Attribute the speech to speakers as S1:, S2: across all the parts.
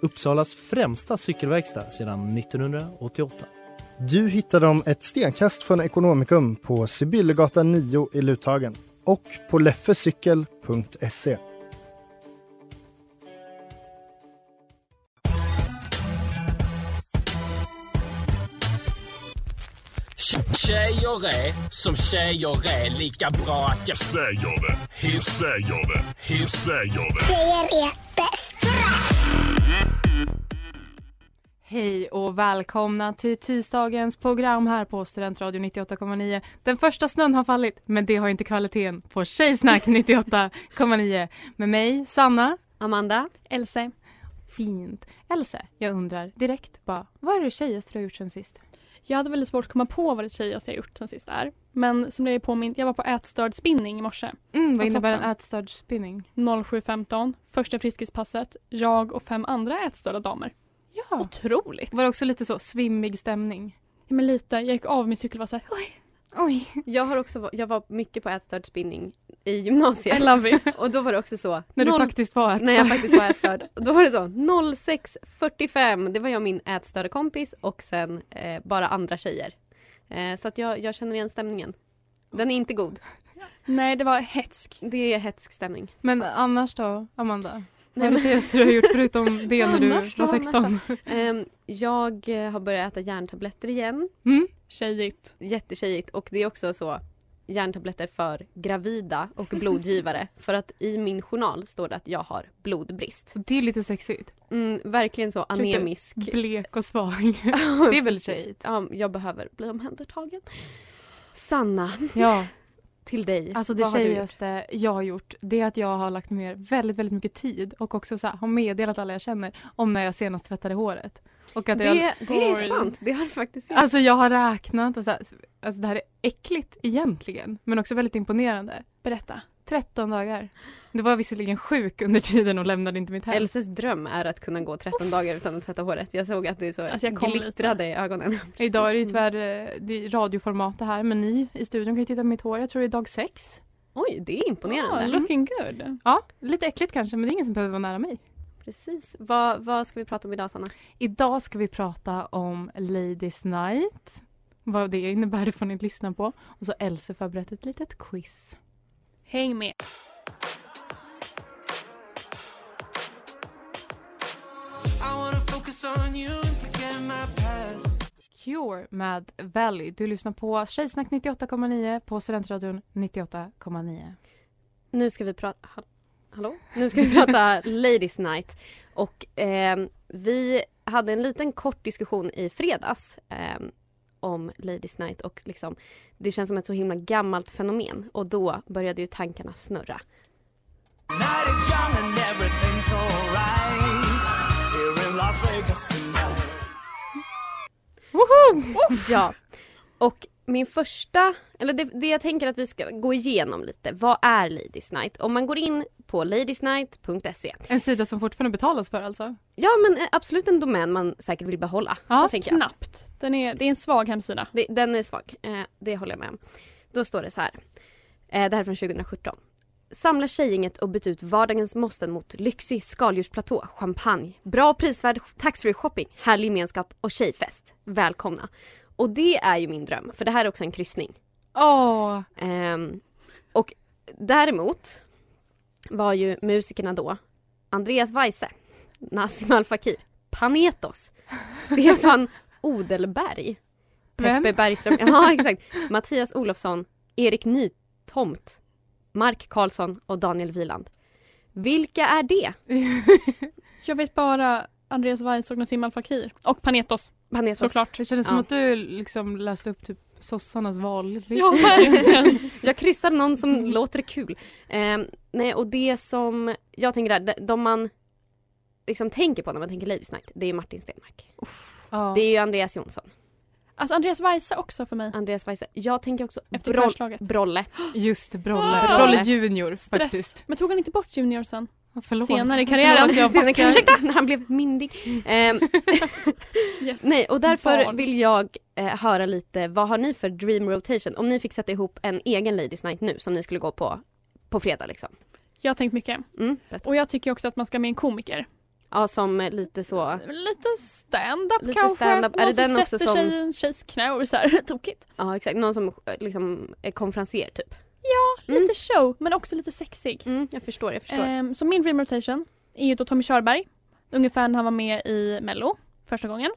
S1: Uppsalas främsta cykelverkstad sedan 1988.
S2: Du hittar dem ett stenkast från Ekonomikum på Sibyllegatan 9 i Luthagen och på leffecykel.se.
S3: Tjejer är som tjejer är lika bra att jag säger det. Hur säger det? Hur säger det?
S4: Hej och välkomna till tisdagens program här på Studentradion 98,9. Den första snön har fallit, men det har inte kvaliteten på Tjejsnack 98,9. Med mig, Sanna.
S5: Amanda?
S6: Else,
S4: Fint. Else, jag undrar direkt bara, vad är det tjejigaste du har gjort sen sist?
S6: jag hade väldigt svårt att komma på vad det tjejigaste jag gjort sen sist är. Men som blev påmind, jag var på ätstörd spinning i morse.
S4: Mm, vad
S6: Vad
S4: innebär en
S6: toppen.
S4: ätstörd spinning?
S6: 07.15, första friskispasset, jag och fem andra ätstörda damer.
S4: Ja.
S6: Otroligt!
S4: Var det också lite så svimmig stämning?
S6: Ja, Men lite, jag gick av min cykel och var såhär, oj,
S4: Oj.
S5: Jag, har också, va- jag var mycket på ätstörd spinning i gymnasiet.
S6: I love it.
S5: Och då var det också så.
S4: När du
S5: noll-
S4: faktiskt var ätstörd.
S5: när jag faktiskt var ätstörd. Och Då var det så 06.45, det var jag och min ätstörda kompis och sen eh, bara andra tjejer. Eh, så att jag, jag känner igen stämningen. Den är inte god.
S6: Nej, det var hetsk.
S5: Det är hetsk stämning.
S4: Men annars då, Amanda? Vad
S5: Nej,
S4: är det
S5: men-
S4: tjejigaste du har gjort förutom det när du
S5: Annars då,
S4: var
S5: annars
S4: 16?
S5: Ehm, jag eh, har börjat äta järntabletter igen.
S4: Mm?
S6: Tjejigt.
S5: Jättetjejigt. Och det är också så järntabletter för gravida och blodgivare. för att i min journal står det att jag har blodbrist.
S4: Så det är lite sexigt.
S5: Mm, verkligen så anemisk.
S4: Blek och svag. Det är väl tjejigt?
S5: Ja, jag behöver bli omhändertagen. Sanna,
S4: Ja.
S5: till dig.
S4: Alltså det
S5: Vad har du gjort?
S4: tjejigaste jag har gjort det är att jag har lagt ner väldigt, väldigt mycket tid och också så här, har meddelat alla jag känner om när jag senast tvättade håret. Och att jag,
S5: Det, det är
S6: Oj.
S5: sant, det har du faktiskt gjort.
S4: alltså jag har räknat och så här, alltså det här är äckligt egentligen men också väldigt imponerande.
S6: Berätta.
S4: 13 dagar. Det var jag visserligen sjuk under tiden och lämnade inte mitt hem.
S5: Elses dröm är att kunna gå 13 dagar utan att tvätta håret. Jag såg att det så
S6: Alltså, jag kom lite.
S5: glittrade i ögonen. Mm.
S4: Idag är det ju tyvärr eh, det är radioformat det här men ni i studion kan ju titta på mitt hår. Jag tror det är dag sex.
S5: Oj, det är imponerande.
S6: Ja, looking good.
S4: Ja, lite äckligt kanske men det är ingen som behöver vara nära mig.
S5: Precis. Vad, vad ska vi prata om idag, Sanna?
S4: Idag ska vi prata om Ladies Night. Vad det innebär det får ni lyssna på. Och så Else förberett ett litet quiz.
S6: Häng med.
S4: Cure med Valley. Du lyssnar på Tjejsnack 98,9 på Studentradion 98,9.
S5: Nu ska vi prata... ha- Hallå? Nu ska vi prata Ladies Night. Och ehm, vi hade en liten kort diskussion i fredags ehm, om Ladies Night och liksom, det känns som ett så himla gammalt fenomen. Och då började ju tankarna snurra.
S7: Night is young and everything's alright. Here in Las Vegas tonight.
S5: Ja. Och min första, eller det, det jag tänker att vi ska gå igenom lite, vad är Ladies Night? Om man går in på ladiesnight.se
S4: En sida som fortfarande betalas för alltså.
S5: Ja men eh, absolut en domän man säkert vill behålla.
S4: Ja,
S5: det tänker jag.
S6: Knappt. Den är, det är en svag hemsida.
S5: Det, den är svag, eh, det håller jag med om. Då står det så här. Eh, det här är från 2017. Samla tjejgänget och byt ut vardagens måsten mot lyxig skaldjursplatå, champagne, bra och prisvärd taxfree shopping, härlig gemenskap och tjejfest. Välkomna! Och det är ju min dröm, för det här är också en kryssning.
S4: Åh!
S5: Ehm, och däremot var ju musikerna då Andreas Weise, Nassim Al Fakir, Panetos, Stefan Odelberg,
S4: Vem?
S5: Peppe Bergström, ja, exakt, Mattias Olofsson, Erik Nytomt, Mark Karlsson och Daniel Wieland. Vilka är det?
S6: Jag vet bara Andreas Weiss och Nassim Al Fakir. Och Panetos,
S5: Panetos.
S6: såklart.
S4: Det kändes som
S5: Ja.
S4: att du liksom läste upp typ sossarnas vallista.
S6: Ja, verkligen.
S5: Jag kryssar någon som låter kul. Ehm, nej, och det som jag tänker där, de- de man liksom tänker på när man tänker Ladysnack, det är Martin Stenmark.
S4: Ja.
S5: Det är ju Andreas Jonsson.
S6: Alltså Andreas Weise också för mig.
S5: Andreas Weise. Jag tänker också
S6: Efter
S5: Broll-
S6: skärslaget.
S5: Brolle.
S4: Just det, Brolle.
S6: Ah!
S4: Brolle Junior
S6: Stress.
S4: faktiskt.
S6: Men tog han inte bort Junior sen?
S4: Förlåt.
S6: Senare i karriären.
S4: Förlåt, jag
S5: Senare-
S4: backar.
S5: Ursäkta, när han blev myndig. Ehm,
S6: Yes.
S5: nej, och därför
S6: Mm. Barn.
S5: vill jag eh, höra lite, vad har ni för dream rotation? Om ni fick sätta ihop en egen Ladies Night nu som ni skulle gå på på fredag liksom.
S6: Jag har tänkt mycket.
S5: Mm, berätta.
S6: Och jag tycker också att man ska med en komiker.
S5: Ja, som eh, lite så,
S6: Lite stand-up
S5: Lite
S6: kanske.
S5: stand-up. Är
S6: Någon
S5: det
S6: som
S5: den också
S6: sätter sig
S5: som-
S6: i en tjejs knä och är så här tokigt.
S5: ja exakt, någon som eh, liksom är konferenser typ.
S6: Lite show men också lite sexig.
S5: Mm, jag förstår, jag förstår.
S6: Ehm, så min dream rotation är ju då Tommy Körberg. Ungefär när han var med i Mello första gången.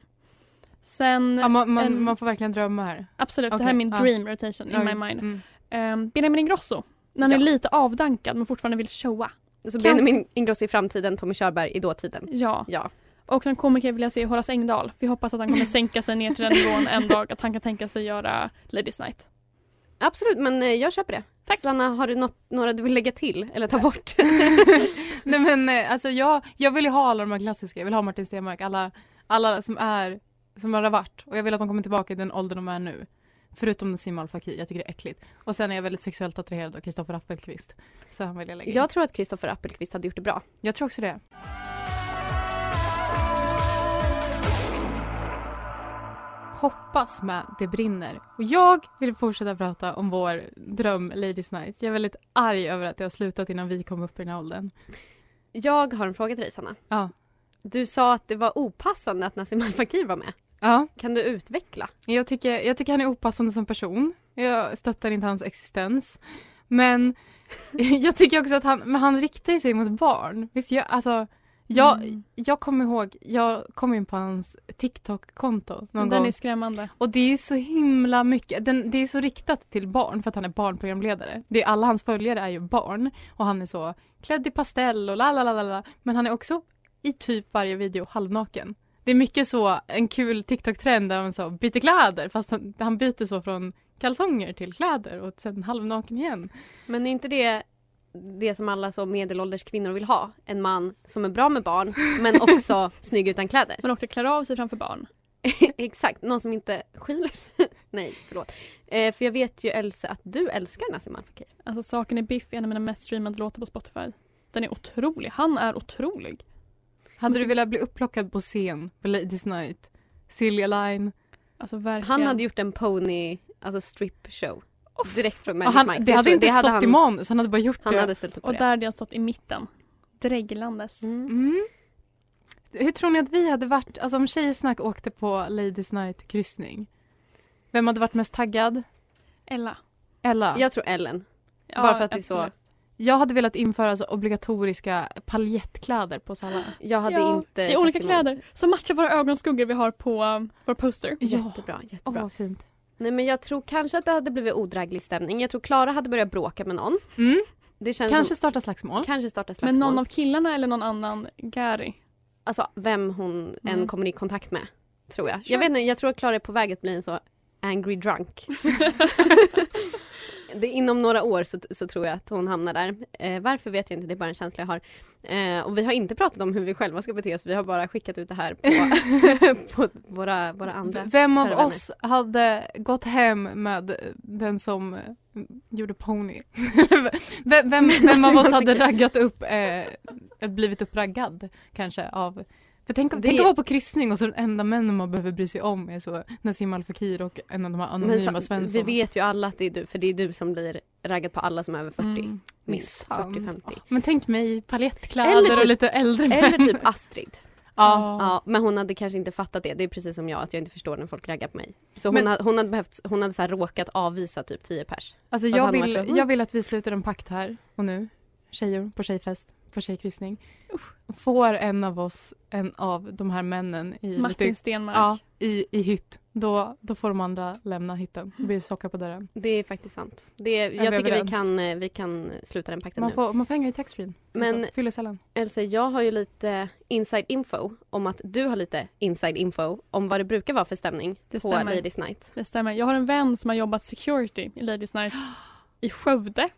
S6: Sen,
S4: Ja, man, man,
S6: en-
S4: man får verkligen drömma här.
S6: absolut det här är
S4: okej,
S6: min
S4: ja.
S6: dream rotation in my
S4: Oj,
S6: mind.
S4: mm.
S6: Ehm, Benjamin Ingrosso. När han
S5: Ja.
S6: är lite avdankad men fortfarande vill showa.
S5: så Benjamin Ingrosso i framtiden, Tommy Körberg i dåtiden.
S6: Ja.
S5: Ja.
S6: Och som komiker vill jag se Horace Engdahl. Vi hoppas att han kommer sänka sig ner till den nivån en dag att han kan tänka sig göra Ladies Night.
S5: Absolut, men eh, jag köper det.
S6: Tack. Eh,
S5: Sanna, har du något, några du vill lägga till eller ta bort?
S4: Nej men eh, alltså jag, jag vill ju ha alla de här klassiska, jag vill ha Martin Stenmark, alla, alla som är, som har varit och jag vill att de kommer tillbaka i den åldern de är nu. Förutom Nassim Al Fakir, jag tycker det är äckligt. Och sen är jag väldigt sexuellt attraherad av Kristoffer Appelqvist. Så han vill jag lägga in.
S5: jag tror att Kristoffer Appelqvist hade gjort det bra.
S4: jag tror också det. Hoppas med Det brinner. Och jag vill fortsätta prata om vår dröm Ladies Night. Jag är väldigt arg över att det har slutat innan vi kom upp i den här åldern.
S5: Jag har en fråga till dig Sanna.
S4: Ja.
S5: Du sa att det var opassande att Nassim Al Fakir var med.
S4: Ja.
S5: Kan du utveckla?
S4: Jag tycker, jag tycker han är opassande som person. Jag stöttar inte hans existens. Men jag tycker också att han, men han riktar ju sig mot barn. Visst, jag, alltså, jag,
S6: Mm.
S4: jag kommer ihåg, jag kom in på hans TikTok-konto någon
S6: Den
S4: gång.
S6: är skrämmande.
S4: Och det är så himla mycket, den, det är så riktat till barn för att han är barnprogramledare. Det är, alla hans följare är ju barn och han är så klädd i pastell och la la la la la. Men han är också i typ varje video halvnaken. Det är mycket så en kul TikTok-trend där han så byter kläder fast han, han byter så från kalsonger till kläder och sen halvnaken igen.
S5: Men är inte det det som alla så medelålders kvinnor vill ha? En man som är bra med barn men också snygg utan kläder.
S6: Men också klär av sig framför barn.
S5: Exakt, någon som inte skyler. Nej, förlåt. Eh, för jag vet ju Else att du älskar Nassim Al Fakir.
S6: Alltså Saken är biff är en av mina mest streamade låtar på Spotify. Den är otrolig. Han är otrolig.
S4: Hade
S5: Alltså-
S4: du velat bli upplockad på scen på Ladies Night? Silja Line.
S6: Alltså verkligen.
S5: Han hade gjort en pony, alltså strip show. Direkt från
S4: Och
S5: Magic
S4: han,
S5: Mike.
S4: det
S5: Jag
S4: hade
S5: tror-
S4: inte stått
S5: han,
S4: i manus, han hade bara gjort
S5: Han
S4: det.
S5: hade ställt upp på
S6: Och
S5: det.
S6: där hade jag stått i mitten. Dreglandes.
S5: Mm.
S4: Mm. Hur tror ni att vi hade varit, alltså om Tjejsnack åkte på Ladies Night kryssning? Vem hade varit mest taggad?
S6: Ella.
S4: Ella? Jag,
S5: Jag tror Ellen.
S6: Ja,
S5: Bara för att det är så-
S6: absolut.
S4: hade velat införa alltså, obligatoriska paljettkläder på oss alla.
S5: Jag hade
S6: Ja,
S5: inte
S6: I
S5: sagt
S6: olika
S5: emot.
S6: kläder. Som matchar våra ögonskuggor vi har på um, vår poster.
S5: Jättebra,
S4: Åh,
S5: jättebra.
S4: vad fint.
S5: Nej men jag tror kanske att det hade blivit odräglig stämning. Jag tror Klara hade börjat bråka med någon.
S4: Mm.
S5: Det känns
S4: Kanske
S5: som,
S4: starta slagsmål.
S5: kanske starta slagsmål.
S6: Men någon av killarna eller någon annan Gary.
S5: Alltså vem hon än
S6: Mm.
S5: kommer i kontakt med. Tror jag. Jag vet inte, jag tror att Klara är på väg att bli en så angry drunk. det, inom några år så, så tror jag att hon hamnar där. Eh, varför vet jag inte, det är bara en känsla jag har. Eh, och vi har inte pratat om hur vi själva ska bete oss, vi har bara skickat ut det här på, på våra, våra andra.
S4: Vem av
S5: kära vänner.
S4: oss hade gått hem med den som eh, gjorde pony? vem, vem, vem av
S5: Alltså,
S4: oss hade raggat upp, eh, blivit uppraggad kanske av för tänk, om-
S5: Det-
S4: tänk att vara på kryssning och så den enda männen man behöver bry sig om är så Nassim Al Fakir och en av de här anonyma
S5: Men sa-
S4: Svensson.
S5: Vi vet ju alla att det är du, för det är du som blir raggad på alla som är över 40.
S4: Mm.
S5: Minst
S4: Sant.
S5: 40-50.
S4: Men tänk mig i
S5: Eller
S4: paljettkläder
S5: typ-
S4: och lite äldre män.
S5: Eller typ Astrid.
S4: ja.
S5: Ja, men hon hade kanske inte fattat det. Det är precis som jag, att jag inte förstår när folk raggar på mig. Så hon,
S4: Men-
S5: hade, hon hade, behövt, hon hade så här råkat avvisa typ 10 pers.
S4: Alltså
S5: Och så
S4: jag
S5: hade man
S4: vill,
S5: varit så,
S4: jag vill att vi sluter en pakt här och nu. Tjejer på tjejfest, på tjejkryssning. Får en av oss, en av de här männen i,
S6: Martin
S4: lite,
S6: Stenmark.
S4: ja, i, i hytt, då, då får de andra lämna hytten. Det blir socka på dörren.
S5: Det är faktiskt sant. Det, är-
S4: vi
S5: jag tycker vi
S4: överens?
S5: kan, eh, vi kan sluta den pakten
S4: Man
S5: nu.
S4: får, man får hänga i taxfree.
S5: Men-
S4: alltså, fyllecellen.
S5: Elsa, jag har ju lite inside info om att du har lite inside info om vad det brukar vara för stämning
S6: Det
S5: på
S6: stämmer.
S5: Ladies Night.
S6: Det stämmer. Jag har en vän som har jobbat security i Ladies Night i Skövde.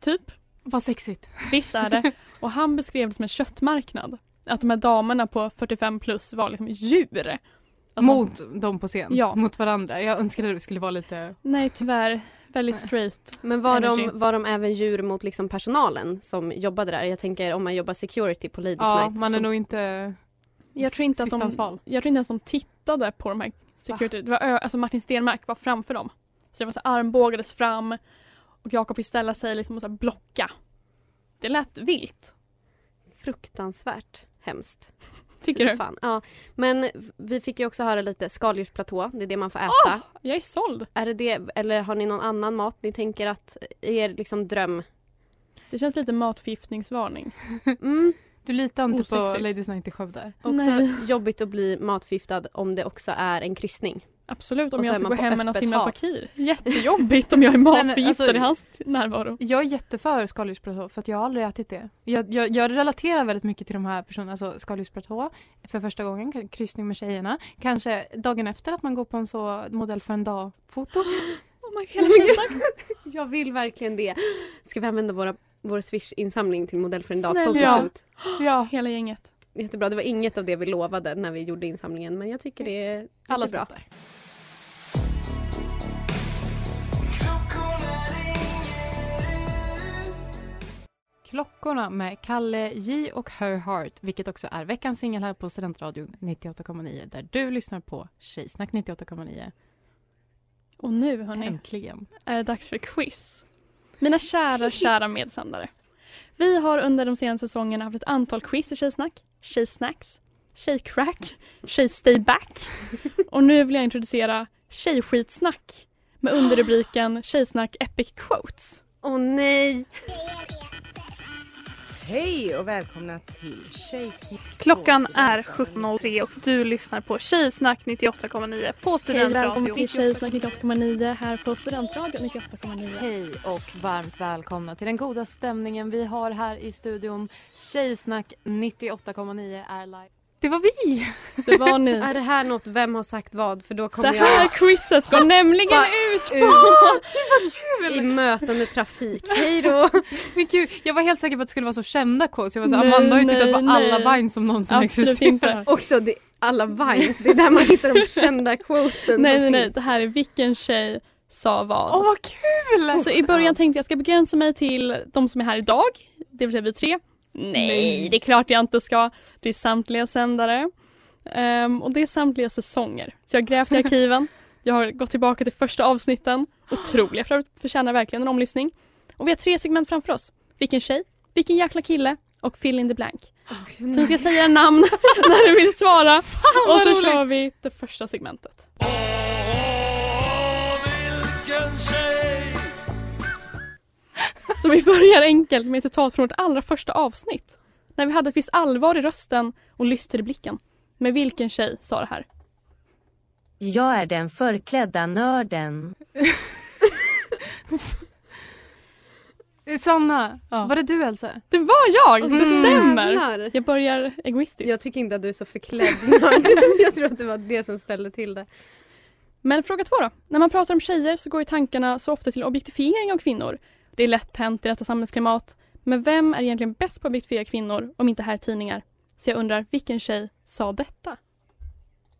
S6: Typ.
S4: Vad sexigt.
S6: Visst är det. Och han beskrev det som en köttmarknad. att de här damerna på 45 plus var liksom djur. Att man-
S4: Mot dem på scen?
S6: Ja.
S4: Mot varandra? Jag önskade det skulle vara lite...
S6: Nej tyvärr, väldigt straight.
S5: Men var de,
S6: Energy.
S5: var de även djur mot liksom personalen som jobbade där? Jag tänker om man jobbar security på Ladies
S4: Ja,
S5: Night.
S4: man är
S5: så-
S4: nog inte...
S6: Jag tror inte att
S4: Sistans
S6: de,
S4: val.
S6: jag tror inte ens de tittade på de här security. Det var, ö- alltså Martin Stenmark var framför dem. Så det var så här, armbågades fram och Jakob fick ställa sig liksom och så här, blocka. Det lät vilt,
S5: Fruktansvärt hemskt.
S6: tycker du?
S5: Fan. Ja. Men vi fick ju också höra lite skaldjursplatå, det är det man får äta.
S6: Jag är såld.
S5: Är det det, eller har ni någon annan mat ni tänker att er liksom dröm?
S6: Det känns lite matförgiftningsvarning.
S5: Mm.
S4: Du litar inte på
S6: Osexigt.
S4: Ladies Night i Skövde?
S5: Också
S6: Nej.
S5: jobbigt att bli matförgiftad om det också är en kryssning.
S6: Absolut,
S5: Och
S6: om
S5: så
S6: jag
S5: är
S6: ska
S5: man
S6: gå
S5: på
S6: hem med
S5: öppet
S6: Nassim
S5: hav.
S6: Fakir. Jättejobbigt om jag är matförgiftad
S4: alltså-
S6: i hans närvaro.
S4: Jag är jätteför skaldjursplatå för att jag har aldrig ätit det. Jag, jag, jag relaterar väldigt mycket till de här personerna, alltså skaldjursplatå för första gången, k- kryssning med tjejerna. Kanske dagen efter att man går på en så modell för en dag-foto.
S6: Oh my God.
S5: Jag vill verkligen det. Ska vi använda våra, vår Swish-insamling till modell för en dag?
S6: Snälla.
S5: Photoshoot.
S6: Ja, hela gänget.
S5: Jättebra, det var inget av det vi lovade när vi gjorde insamlingen men jag tycker det är
S4: Alla
S5: bra.
S4: skrattar. Klockorna med Kalle J och Her Heart, vilket också är veckans singel här på Studentradion 98,9 där du lyssnar på Tjejsnack 98,9.
S6: Och nu hörni,
S4: Äntligen.
S6: är det dags för quiz. Mina kära, kära medsändare. Vi har under de senaste säsongerna haft ett antal quiz i Tjejsnack, Tjejsnacks, Tjejcrack, Tjejstayback och nu vill jag introducera Tjejskitsnack med underrubriken Tjejsnack Epic Quotes.
S5: Åh nej!
S8: Hej och välkomna till Tjejsnack.
S9: Klockan är 17.03 och du lyssnar på Tjejsnack 98,9 på
S6: Hej välkommen
S9: Studentradion.
S6: till Tjejsnack 98,9 här på Studentradion 98,9.
S4: Hej och varmt välkomna till den goda stämningen vi har här i studion. Tjejsnack 98,9 är live. Det var vi!
S6: Det var ni.
S5: Är det här något Vem har sagt vad? För då
S6: Det
S5: kommer
S6: här
S5: jag
S6: quizet går nämligen ut på...
S5: ut i mötande trafik. Hej då!
S4: Men gud, jag var helt säker på att det skulle vara så kända quotes. Jag var så,
S6: Nej,
S4: Amanda har ju tittat
S6: nej,
S4: på alla
S6: nej.
S4: Vines som någonsin
S6: Absolut
S4: existerat.
S6: inte.
S5: Också det, alla Vines, det är där man hittar de kända quotesen
S6: Nej
S5: som
S6: nej nej,
S5: finns.
S6: det här är vilken tjej sa vad.
S4: Åh vad kul!
S6: Så alltså, i början tänkte jag ska begränsa mig till de som är här idag, det vill säga vi tre. Nej, det är klart jag inte ska. Det är samtliga sändare. Ehm, och det är samtliga säsonger. Så jag har grävt i arkiven, jag har gått tillbaka till första avsnitten. Otroliga för förtjänar verkligen en omlyssning. Och vi har tre segment framför oss. Vilken tjej, vilken jäkla kille och fill in the blank. Så ni ska säga namn när ni vill svara. och så kör vi det första segmentet. Så vi börjar enkelt med ett citat från vårt allra första avsnitt. När vi hade ett visst allvar i rösten och lyster i blicken. Med vilken tjej sa det här?
S10: Jag är den förklädda nörden.
S4: Eh, Sanna,
S6: Ja.
S4: var det du Elsa?
S6: Det var jag! Det stämmer!
S5: Mm. Jävlar.
S6: Jag börjar egoistiskt.
S5: Jag tycker inte att du är så förklädd nörd. Jag tror att det var det som ställde till det.
S6: Men fråga två då. När man pratar om tjejer så går ju tankarna så ofta till objektifiering av kvinnor. Det är lätt hänt i detta samhällsklimat. Men vem är egentligen bäst på att objektifiera kvinnor om inte här tidningar? Så jag undrar, vilken tjej sa detta?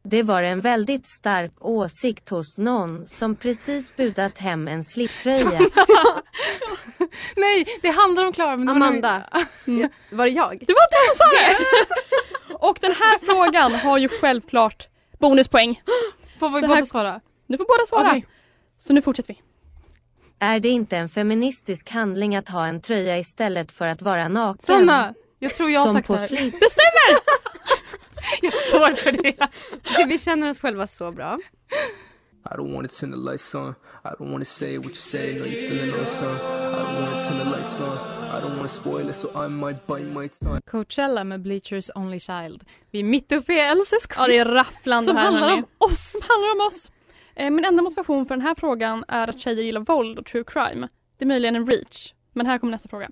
S10: Det var en väldigt stark åsikt hos någon som precis budat hem en sliptröja.
S4: Nej, det handlar om Klara men det var
S5: Amanda,
S6: Mm.
S5: var det jag?
S6: Det var du som sa det! Och den här frågan har ju självklart bonuspoäng.
S4: nog- Får vi
S6: Så
S4: båda
S6: här-
S4: svara?
S6: Nu får båda svara.
S4: Okej.
S6: Så nu fortsätter vi.
S10: är det inte en feministisk handling att ha en tröja istället för att vara naken?
S4: Sanna, jag tror jag har
S10: som
S4: sagt
S10: på
S4: det här.
S10: slit.
S4: Jag står för det.
S5: Okej, vi känner oss själva så bra.
S11: I don't wanna turn the lights on. I don't wanna say what you say. No, you feeling no son. I don't wanna turn the lights on. I don't wanna spoil it, so I might bite my tongue.
S4: Coachella med Bleachers Only Child. Vi är mitt uppe i Elses quiz.
S6: Ja, det är rafflande
S4: Som
S6: här
S4: handlar
S6: hörni.
S4: om oss.
S6: Som handlar om oss. Eh, Min enda motivation för den här frågan är att tjejer gillar våld och true crime. Det är möjligen en reach. Men här kommer nästa fråga.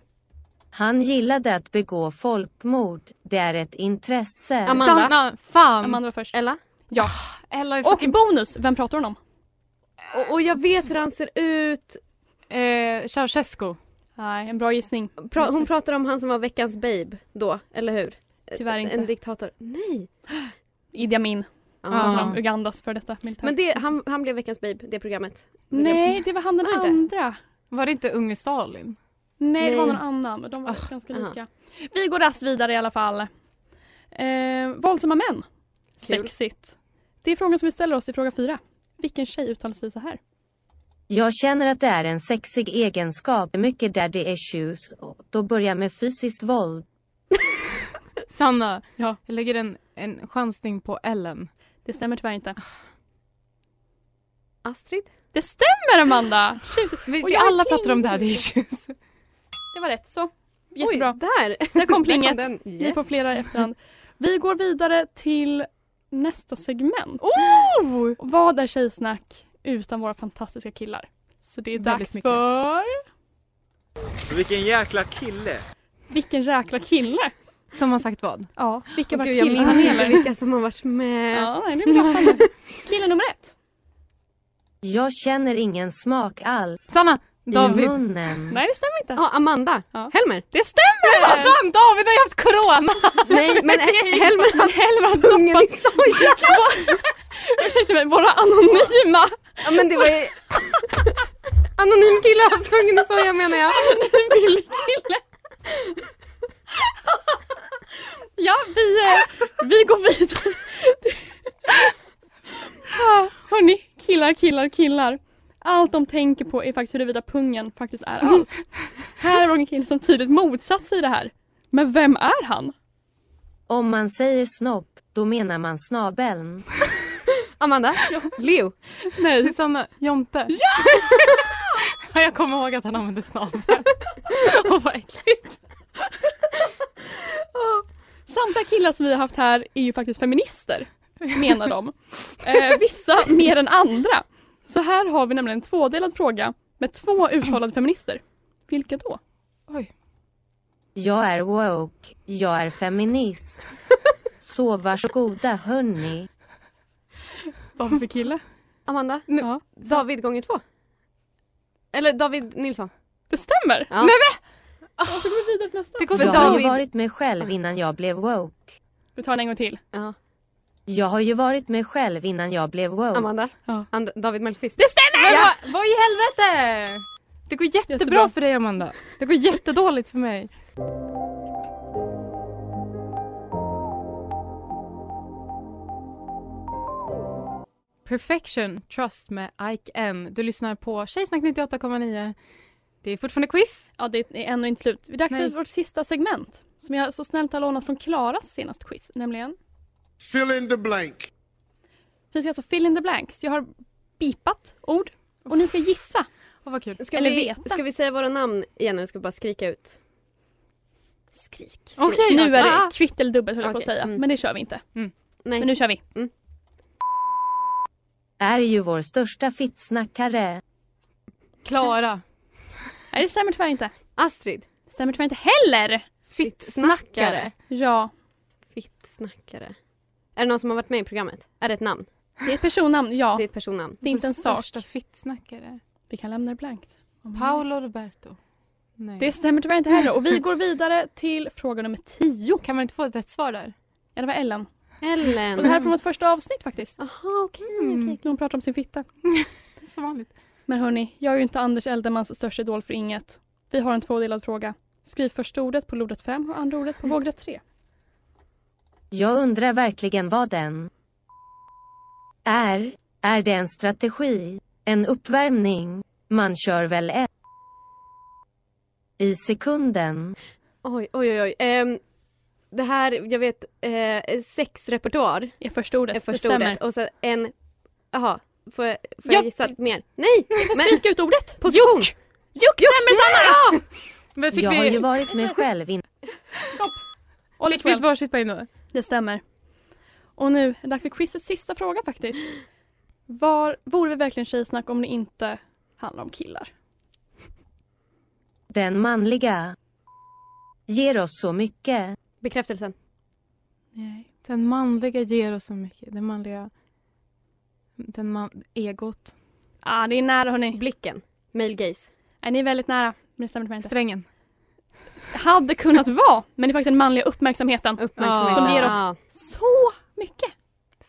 S10: Han gillade att begå folkmord. Det är ett intresse.
S5: Amanda.
S4: Sanna, fan.
S6: Amanda var först.
S5: Ella?
S6: Ja.
S4: Ella är
S6: Och
S4: fucking...
S6: bonus, vem pratar hon om?
S5: Och, och jag vet hur han ser ut.
S4: Eh, Ceausescu.
S6: Nej, en bra gissning.
S5: Pra- hon pratar om han som var veckans babe då, eller hur?
S6: Tyvärr inte.
S5: En diktator. Nej.
S6: Idi Amin.
S5: Ja.
S6: Handlar om Ugandas före detta militär.
S5: Men det, han, han blev veckans babe, det programmet.
S6: Nej, det var han den
S5: Var det inte?
S6: andra.
S4: Var det inte unge Stalin?
S6: Nej, det var
S5: Nej.
S6: någon annan. men De var ganska
S5: aha.
S6: lika. Vi går rast vidare i alla fall. Eh, våldsamma män. Sexigt. Det är frågan som vi ställer oss i fråga fyra. Vilken tjej uttalar sig så här?
S10: Jag känner att det är en sexig egenskap. Mycket daddy issues. Då börjar med fysiskt våld.
S4: Sanna, jag lägger en, en chansning på Ellen.
S6: Det stämmer tyvärr inte.
S5: Astrid?
S6: Det stämmer Amanda! Tjus.
S4: Vi,
S6: Och
S4: vi
S6: jag
S4: alla pratar om
S6: klingar.
S4: daddy issues.
S6: Det var rätt så. Jättebra.
S5: Oj, där!
S6: Där kom plinget.
S5: den.
S6: Ni
S5: Yes.
S6: får flera i efterhand. Vi går vidare till nästa segment.
S4: Oh!
S6: Vad är tjejsnack utan våra fantastiska killar? Så det är
S4: Väldigt
S6: dags
S4: mycket.
S6: för...
S12: Vilken jäkla kille!
S6: Vilken jäkla kille!
S4: Som har sagt vad?
S6: Ja, vilka
S5: Åh,
S6: var
S5: Gud, jag
S6: killarna?
S5: minns inte
S6: Eller?
S5: vilka som har varit med.
S6: Ja, nej, det är blaffande. Kille nummer ett.
S10: Jag känner ingen smak alls.
S4: Sanna!
S10: I
S4: David.
S10: munnen.
S6: Nej, det stämmer inte.
S5: Ja, Amanda.
S6: Ja.
S5: Helmer.
S6: Det stämmer!
S4: Vad fan David har ju haft corona!
S5: Nej, men Helmer har
S6: Helmer har
S5: pungen i
S6: doppat...
S5: soja.
S6: Ursäkta mig, våra anonyma
S5: Ja, men det var ju... Anonym kille har haft pungen i soja menar jag.
S6: billig kille. Ja, vi, eh, vi går vidare. Ah, Hörni, killar, killar, killar. Allt de tänker på är faktiskt huruvida pungen faktiskt är allt. Här var en kille som tydligt motsatt sig det här. Men vem är han?
S10: Om man säger snopp, då menar man snabeln.
S5: Amanda. Leo.
S6: Nej,
S4: Susanna Jonte. Ja! jag kommer ihåg att han använde snabeln. Åh vad äckligt.
S6: Samtliga killar som vi har haft här är ju faktiskt feminister, menar de. Eh, vissa mer än andra. Så här har vi nämligen en tvådelad fråga med två uttalade feminister. Vilka då?
S4: Oj.
S10: Jag är woke. Jag är feminist. Så varsågoda hörni.
S6: Vad för kille?
S5: Amanda.
S4: Nu,
S6: Ja.
S5: David gånger två. Eller David Nilsson.
S6: Det stämmer!
S5: Ja.
S6: Varför går vi vidare till nästa?
S4: Det går så
S10: Jag har ju
S4: David.
S10: varit mig själv innan jag blev woke.
S6: Vi tar den en gång till.
S5: Ja.
S10: Jag har ju varit mig själv innan jag blev woke.
S5: Amanda.
S6: Ja.
S5: And- David Mellqvist.
S6: Det stämmer!
S4: Men vad, vad i helvete! Det går jättebra,
S6: Jättebra.
S4: för dig Amanda. Det går jättedåligt för mig. Perfection Trust med Ike N. Du lyssnar på Tjejsnack 98,9. Det är fortfarande quiz.
S6: Ja, det är ännu inte slut. Det är dags
S4: Nej.
S6: för vårt sista segment som jag så snällt har lånat från Klaras senaste quiz, nämligen
S13: Fill in the blank.
S6: så vi ska alltså fill in the blanks. Jag har bipat ord och ni ska gissa.
S4: Åh vad kul.
S5: Ska,
S6: Eller
S5: vi,
S6: veta.
S5: ska vi säga våra namn igen eller ska vi bara skrika ut?
S6: Skrik. skrik.
S4: Okej,
S6: nu är
S4: ah.
S6: det kvitt eller dubbelt höll jag på att
S5: Okej,
S6: säga,
S5: mm.
S6: men det kör vi inte.
S5: Nej.
S6: Men nu kör vi.
S10: Är ju vår största fittsnackare.
S4: Klara.
S6: Nej, det stämmer tyvärr inte.
S5: Astrid.
S6: Det stämmer tyvärr inte heller.
S5: Fittsnackare.
S6: Ja,
S5: Fittsnackare. Är det någon som har varit med i programmet? Är det ett namn?
S6: det är ett personnamn. Ja,
S5: Det är ett personnamn.
S6: det är inte en sak.
S4: Största fittsnackare.
S6: Vi kan lämna det blankt.
S4: Paolo Roberto. Nej.
S6: Det stämmer tyvärr inte heller. Och vi går vidare till fråga nummer 10.
S4: Kan man inte få ett rätt svar där?
S6: Ja, det var Ellen.
S5: Ellen.
S6: Och det här är från vårt första avsnitt faktiskt.
S5: Jaha, okej.
S6: Mm. Hon pratar om sin fitta.
S4: Som vanligt.
S6: Men hörni, jag är ju inte Anders Eldemans största idol för inget. Vi har en tvådelad fråga. Skriv första ordet på lodrätt 5 och andra ordet på vågrätt 3.
S10: Jag undrar verkligen vad den är. Är det en strategi? En uppvärmning? Man kör väl ett i sekunden?
S5: Oj, oj, oj. oj. Ehm, det här, jag vet, eh, sex repertoar
S6: Är första ordet.
S5: är
S6: det
S5: första
S6: stämmer.
S5: ordet. Och så en... Jaha, får, jag-
S6: Ja,
S5: får jag gissa mer? Nej!
S6: Men
S5: Men
S6: skrika ut ordet!
S5: position!
S6: Juck stämmer Sanna!
S4: Men fick
S10: Jag har
S4: vi,
S10: ju varit mig själv innan.
S6: All is
S4: fick vi
S6: well.
S4: ett varsitt poäng då?
S6: Det stämmer. Och nu är det dags för quizets sista fråga faktiskt. Var, vore vi verkligen tjejsnack om det inte handlar om killar?
S10: Den manliga ger oss så mycket.
S5: Bekräftelsen.
S6: Nej.
S4: Den manliga ger oss så mycket. Den manliga... Den man... Egot.
S6: Ah, det är nära hörni.
S5: Blicken. Male gaze.
S6: Nej, ni är väldigt nära. Men det stämmer tyvärr inte.
S4: Strängen.
S6: hade kunnat vara. Men det är faktiskt den manliga uppmärksamheten,
S5: Uppmärksamheten.
S6: som ger
S5: Ja.
S6: oss så mycket.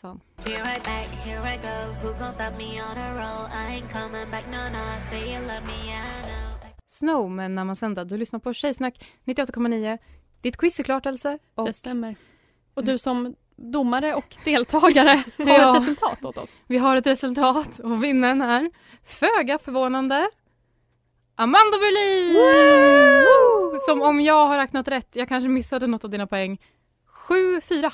S14: Here I back, here I go. Who gon' stop me on a roll? I ain't coming back, no, no. Say you love me, I know.
S4: Snow med Namma Sända. Du lyssnar på Tjejsnack 98,9. Ditt quiz är klart Else. Och...
S6: Det stämmer. Och du som domare och deltagare har
S4: Ja.
S6: ett resultat åt oss.
S4: Vi har ett resultat och vinnaren är föga förvånande Amanda Berlin! Woo! Som om jag har räknat rätt, jag kanske missade något av dina poäng, 7-4.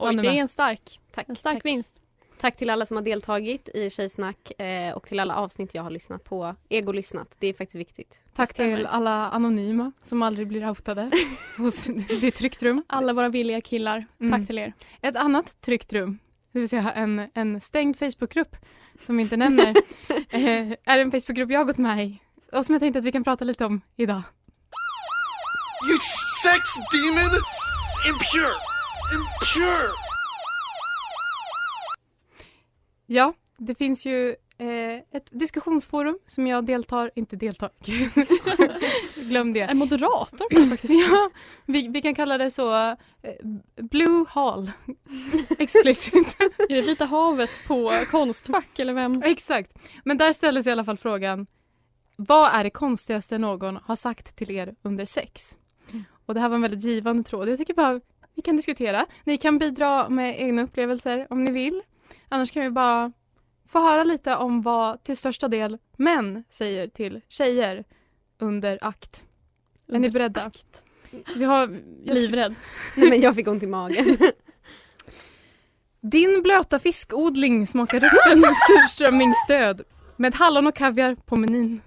S6: Oj, det är en stark,
S5: tack,
S6: en stark vinst.
S5: Tack till alla som har deltagit i Tjejsnack eh, och till alla avsnitt jag har lyssnat på. Ego-lyssnat, det är faktiskt viktigt.
S4: Tack till alla anonyma som aldrig blir outade hos det tryckt rum.
S6: Alla våra villiga killar,
S5: Mm.
S6: tack till er.
S4: Ett annat tryckt rum, det vill säga en, en stängd Facebookgrupp som vi inte nämner, eh, är en Facebookgrupp jag har gått med i och som jag tänkte att vi kan prata lite om idag.
S13: You sex demon! Impure! Impure!
S4: Ja, det finns ju eh, ett diskussionsforum som jag deltar, inte deltar, glöm det.
S6: En moderator faktiskt.
S4: ja, vi, vi kan kalla det så, eh, Blue Hall, explicit.
S6: Är det Vita havet på Konstfack eller vem?
S4: Exakt, men där ställdes i alla fall frågan, vad är det konstigaste någon har sagt till er under sex?
S6: Mm.
S4: Och det här var en väldigt givande tråd. Jag tycker bara vi kan diskutera. Ni kan bidra med egna upplevelser om ni vill. Annars kan vi bara få höra lite om vad till största del män säger till tjejer under akt. är ni beredda? Vi har...
S6: Livrädd.
S5: Nej men jag fick ont i magen.
S4: Din blöta fiskodling smakar rutten surströmmingsdöd med hallon och kaviar på menyn.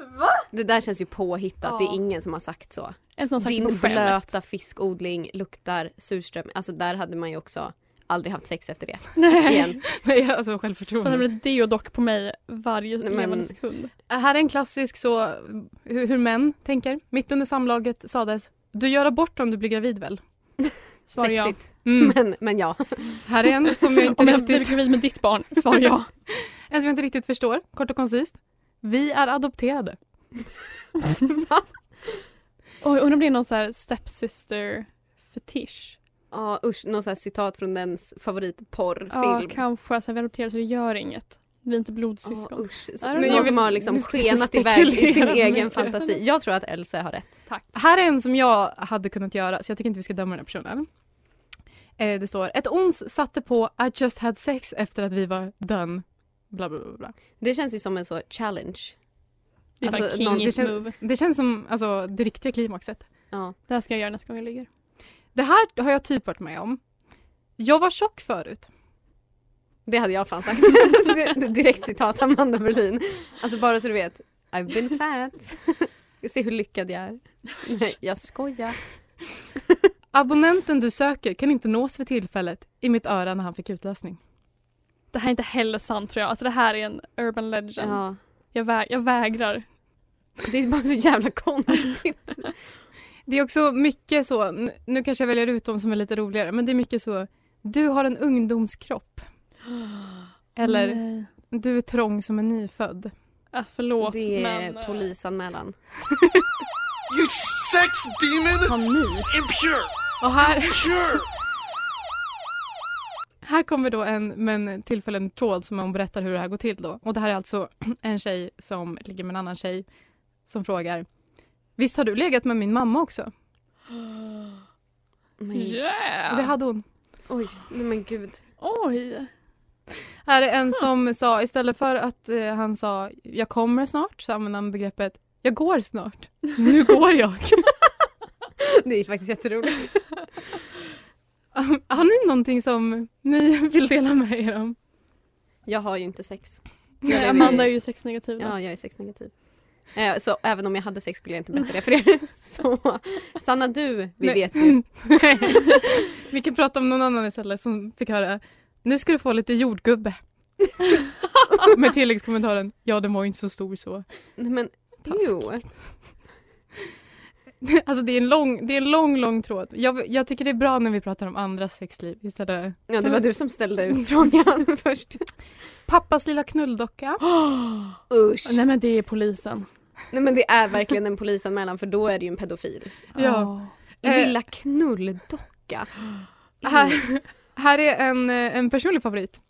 S5: Det där känns ju påhittat,
S4: Ja.
S5: det är ingen som har sagt så.
S6: En som sagt på
S5: Din
S6: skämt.
S5: blöta fiskodling luktar surström. Alltså där hade man ju också aldrig haft sex efter det.
S6: Nej.
S5: Igen.
S4: Nej, alltså
S6: Fan, Det
S4: självförtroende.
S6: blir deodock på mig varje
S5: Nej, men-
S6: levande sekund.
S4: Här är en klassisk så, hur, hur män tänker. Mitt under samlaget sades, du gör abort om du blir gravid väl? Svarar jag.
S5: Sexigt.
S4: Mm.
S5: Men, men ja.
S4: Här är en som jag inte
S6: Om jag blir
S4: riktigt...
S6: gravid med ditt barn, svarar jag.
S4: En som jag inte riktigt förstår, kort och koncist. Vi är adopterade.
S6: Oj, undrar om det är någon så här stepsister fetisch.
S5: Ja usch, något så här citat från dens
S6: Ja,
S5: favoritporrfilm.
S6: kanske. Alltså, Så här, vi adopterar så det gör inget. Vi är inte blodsyskon.
S5: Ja, usch.
S6: I don't
S5: Någon
S6: know.
S5: som har liksom
S6: Nu ska jag inte
S5: skenat iväg i sin
S6: spekulera
S5: egen
S6: mycket.
S5: fantasi. Jag tror att Elsa har rätt.
S4: Här är en som jag hade kunnat göra, så jag tycker inte vi ska döma den här personen. Eh, det står, ett ons satte på I just had sex efter att vi var done. Bla, bla, bla, bla.
S5: Det känns ju som en så challenge.
S6: Det är bara
S5: Alltså,
S6: king
S5: någon-
S4: Det,
S6: it
S4: kän-
S6: move.
S4: det känns som alltså, det riktiga klimaxet.
S5: Ja.
S6: Det här ska jag göra nästa gång jag ligger.
S4: Det här har jag typ varit med om. Jag var tjock förut.
S5: Det hade jag fan sagt. Det- det- Direkt citat Amanda Berlin. Alltså bara så du vet. I've been fat. Du ser hur lyckad jag är. Nej, jag skojar.
S4: Abonnenten du söker kan inte nås för tillfället i mitt öra när han fick utlösning.
S6: Det här är inte heller sant tror jag. Alltså det här är en urban legend.
S5: Ja.
S6: Jag, vä- jag vägrar.
S5: Det är bara så jävla konstigt.
S4: Det är också mycket så, n- nu kanske jag väljer ut dem som är lite roligare, men det är mycket så, du har en ungdomskropp. Eller,
S6: Nej.
S4: du är trång som en nyfödd.
S6: Ah, förlåt
S5: Det är
S6: men... eh,
S5: polisanmälan.
S13: You sex demon!
S6: Panik.
S13: Impure!
S4: Och här,
S13: Impure!
S4: här kommer då en, men tillfälle en tråd som hon berättar hur det här går till då. Och det här är alltså en tjej som ligger med en annan tjej som frågar, visst har du legat med min mamma också?
S5: Men,
S6: Yeah!
S4: Det hade hon.
S5: oj, nej men gud.
S6: Oj!
S4: Här är en som sa, istället för att eh, han sa jag kommer snart så använde han begreppet jag går snart. Nu går jag.
S5: Det är faktiskt jätteroligt.
S4: Har ni någonting som ni vill dela med er om?
S5: Jag har ju inte sex.
S6: Nej, Amanda är ju sexnegativ. då.
S5: Ja, jag är sexnegativ. Eh, Så även om jag hade sex skulle jag inte berätta det för er. Så Sanna du, vi
S4: Nej.
S5: vet ju.
S4: Vi kan prata om någon annan istället som fick höra nu ska du få lite jordgubbe. Med tilläggskommentaren ja den var ju inte så stor så.
S5: Nej, men jo.
S4: Alltså det är en lång, det är en lång, lång tråd. Jag, jag tycker det är bra när vi pratar om andras sexliv istället.
S5: Ja,
S6: Mm.
S5: det var du som ställde ut frågan först.
S4: Pappas lilla knulldocka.
S5: Usch.
S6: Nej men det är polisen.
S5: Nej men det är verkligen en polisanmälan för då är det ju en pedofil.
S4: Ja.
S5: Lilla knulldocka.
S4: Eh. Här, här är en, eh, en personlig favorit.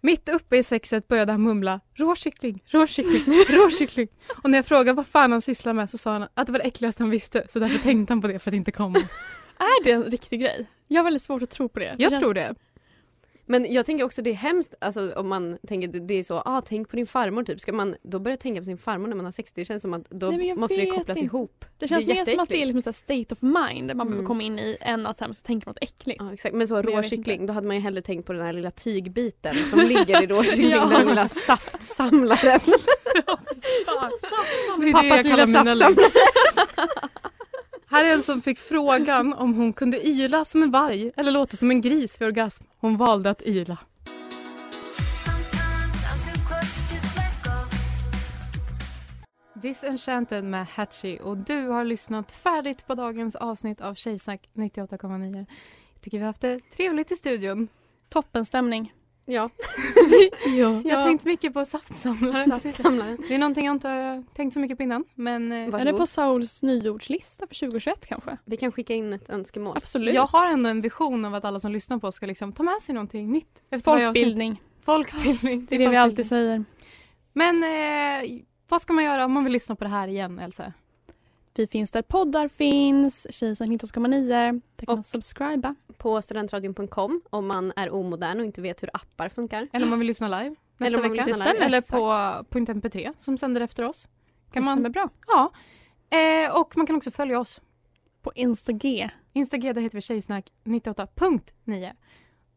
S4: Mitt uppe i sexet började han mumla råkyckling, råkyckling, råkyckling. Och när jag frågade vad fan han sysslar med så sa han att det var det äckligaste han visste så därför tänkte han på det för att inte komma.
S6: Är det en riktig grej? Jag har väldigt svårt att tro på det.
S4: Jag tror det.
S5: Men jag tänker också det är hemskt alltså, om man tänker det- det är så, ah, tänk på din farmor typ. Ska man då börja tänka på sin farmor när man har sex? Det känns som att då
S6: Nej, men jag
S5: måste det
S6: vet
S5: kopplas
S6: inte.
S5: ihop.
S6: Det känns mer som att det är
S5: jätteäckligt.
S6: liksom ett state of mind man behöver
S5: Mm.
S6: komma in i än att så här, man ska tänka på något äckligt.
S5: Ja, exakt. Men så
S6: Men jag vet
S5: råkyckling, då hade man ju hellre tänkt på den här lilla tygbiten som ligger i råkyckling,
S6: Ja.
S5: den lilla saftsamlaren.
S4: Det är
S5: Pappas
S4: det jag
S5: lilla
S4: kallar mina
S5: saftsamlare.
S4: liv. Här är en som fick frågan om hon kunde yla som en varg eller låta som en gris vid orgasm. Hon valde att yla. Disenchanted med Hatchy och du har lyssnat färdigt på dagens avsnitt av Tjejsnack 98,9. Jag tycker vi har haft det trevligt i studion.
S6: Toppen stämning.
S5: Ja.
S6: ja.
S4: Jag har tänkt mycket på saftsamlaren.
S5: Saftsamlaren.
S4: Det är någonting jag inte har tänkt så mycket på innan. Men eh,
S6: Är det på Souls nyordslista för 2021 kanske?
S5: Vi kan skicka in ett önskemål.
S6: Absolut.
S4: Jag har ändå en vision av att alla som lyssnar på oss ska liksom ta med sig någonting nytt. Efter varje avsnitt.
S6: Folkbildning.
S4: Folkbildning.
S6: Det är det vi alltid säger.
S4: Men eh, vad ska man göra om man vill lyssna på det här igen, Elsa?
S6: Vi finns där poddar finns, Tjejsnack 98,9. Där kan man subscriba.
S5: På studentradion.com om man är omodern och inte vet hur appar funkar.
S4: Eller om man vill lyssna live
S5: Eller
S4: nästa
S5: om man vill
S4: vecka.
S5: lyssna live.
S4: Eller på punkt MP3 som sänder efter oss.
S6: Det stämmer bra.
S4: Ja. Eh, och man kan också följa oss.
S6: På Instag.
S4: Instag där heter vi tjejsnack98.9.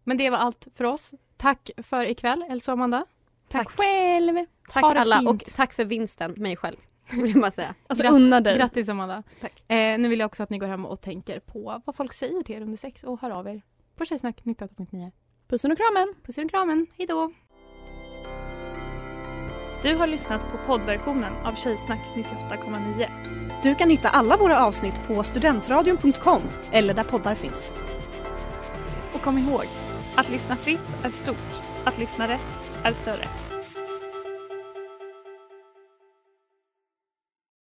S4: Men det var allt för oss. Tack för ikväll, Elsa och Amanda.
S5: Tack
S6: själv.
S5: Tack
S4: Ha det
S5: alla
S4: fint.
S5: och tack för vinsten, mig själv. Vill jag bara säga.
S6: Alltså
S4: Grat-
S6: unna dig.
S4: Grattis Amanda.
S5: Tack.
S4: Eh, nu vill jag också att ni går hem och tänker på vad folk säger till er under sex och hör av er på Tjejsnack 98.9.
S6: Pussen och kramen.
S4: Pussen och kramen. Hej då.
S9: Du har lyssnat på poddversionen av Tjejsnack 98,9.
S15: Du kan hitta alla våra avsnitt på studentradion.com eller där poddar finns.
S9: Och kom ihåg, att lyssna fritt är stort, att lyssna rätt är större.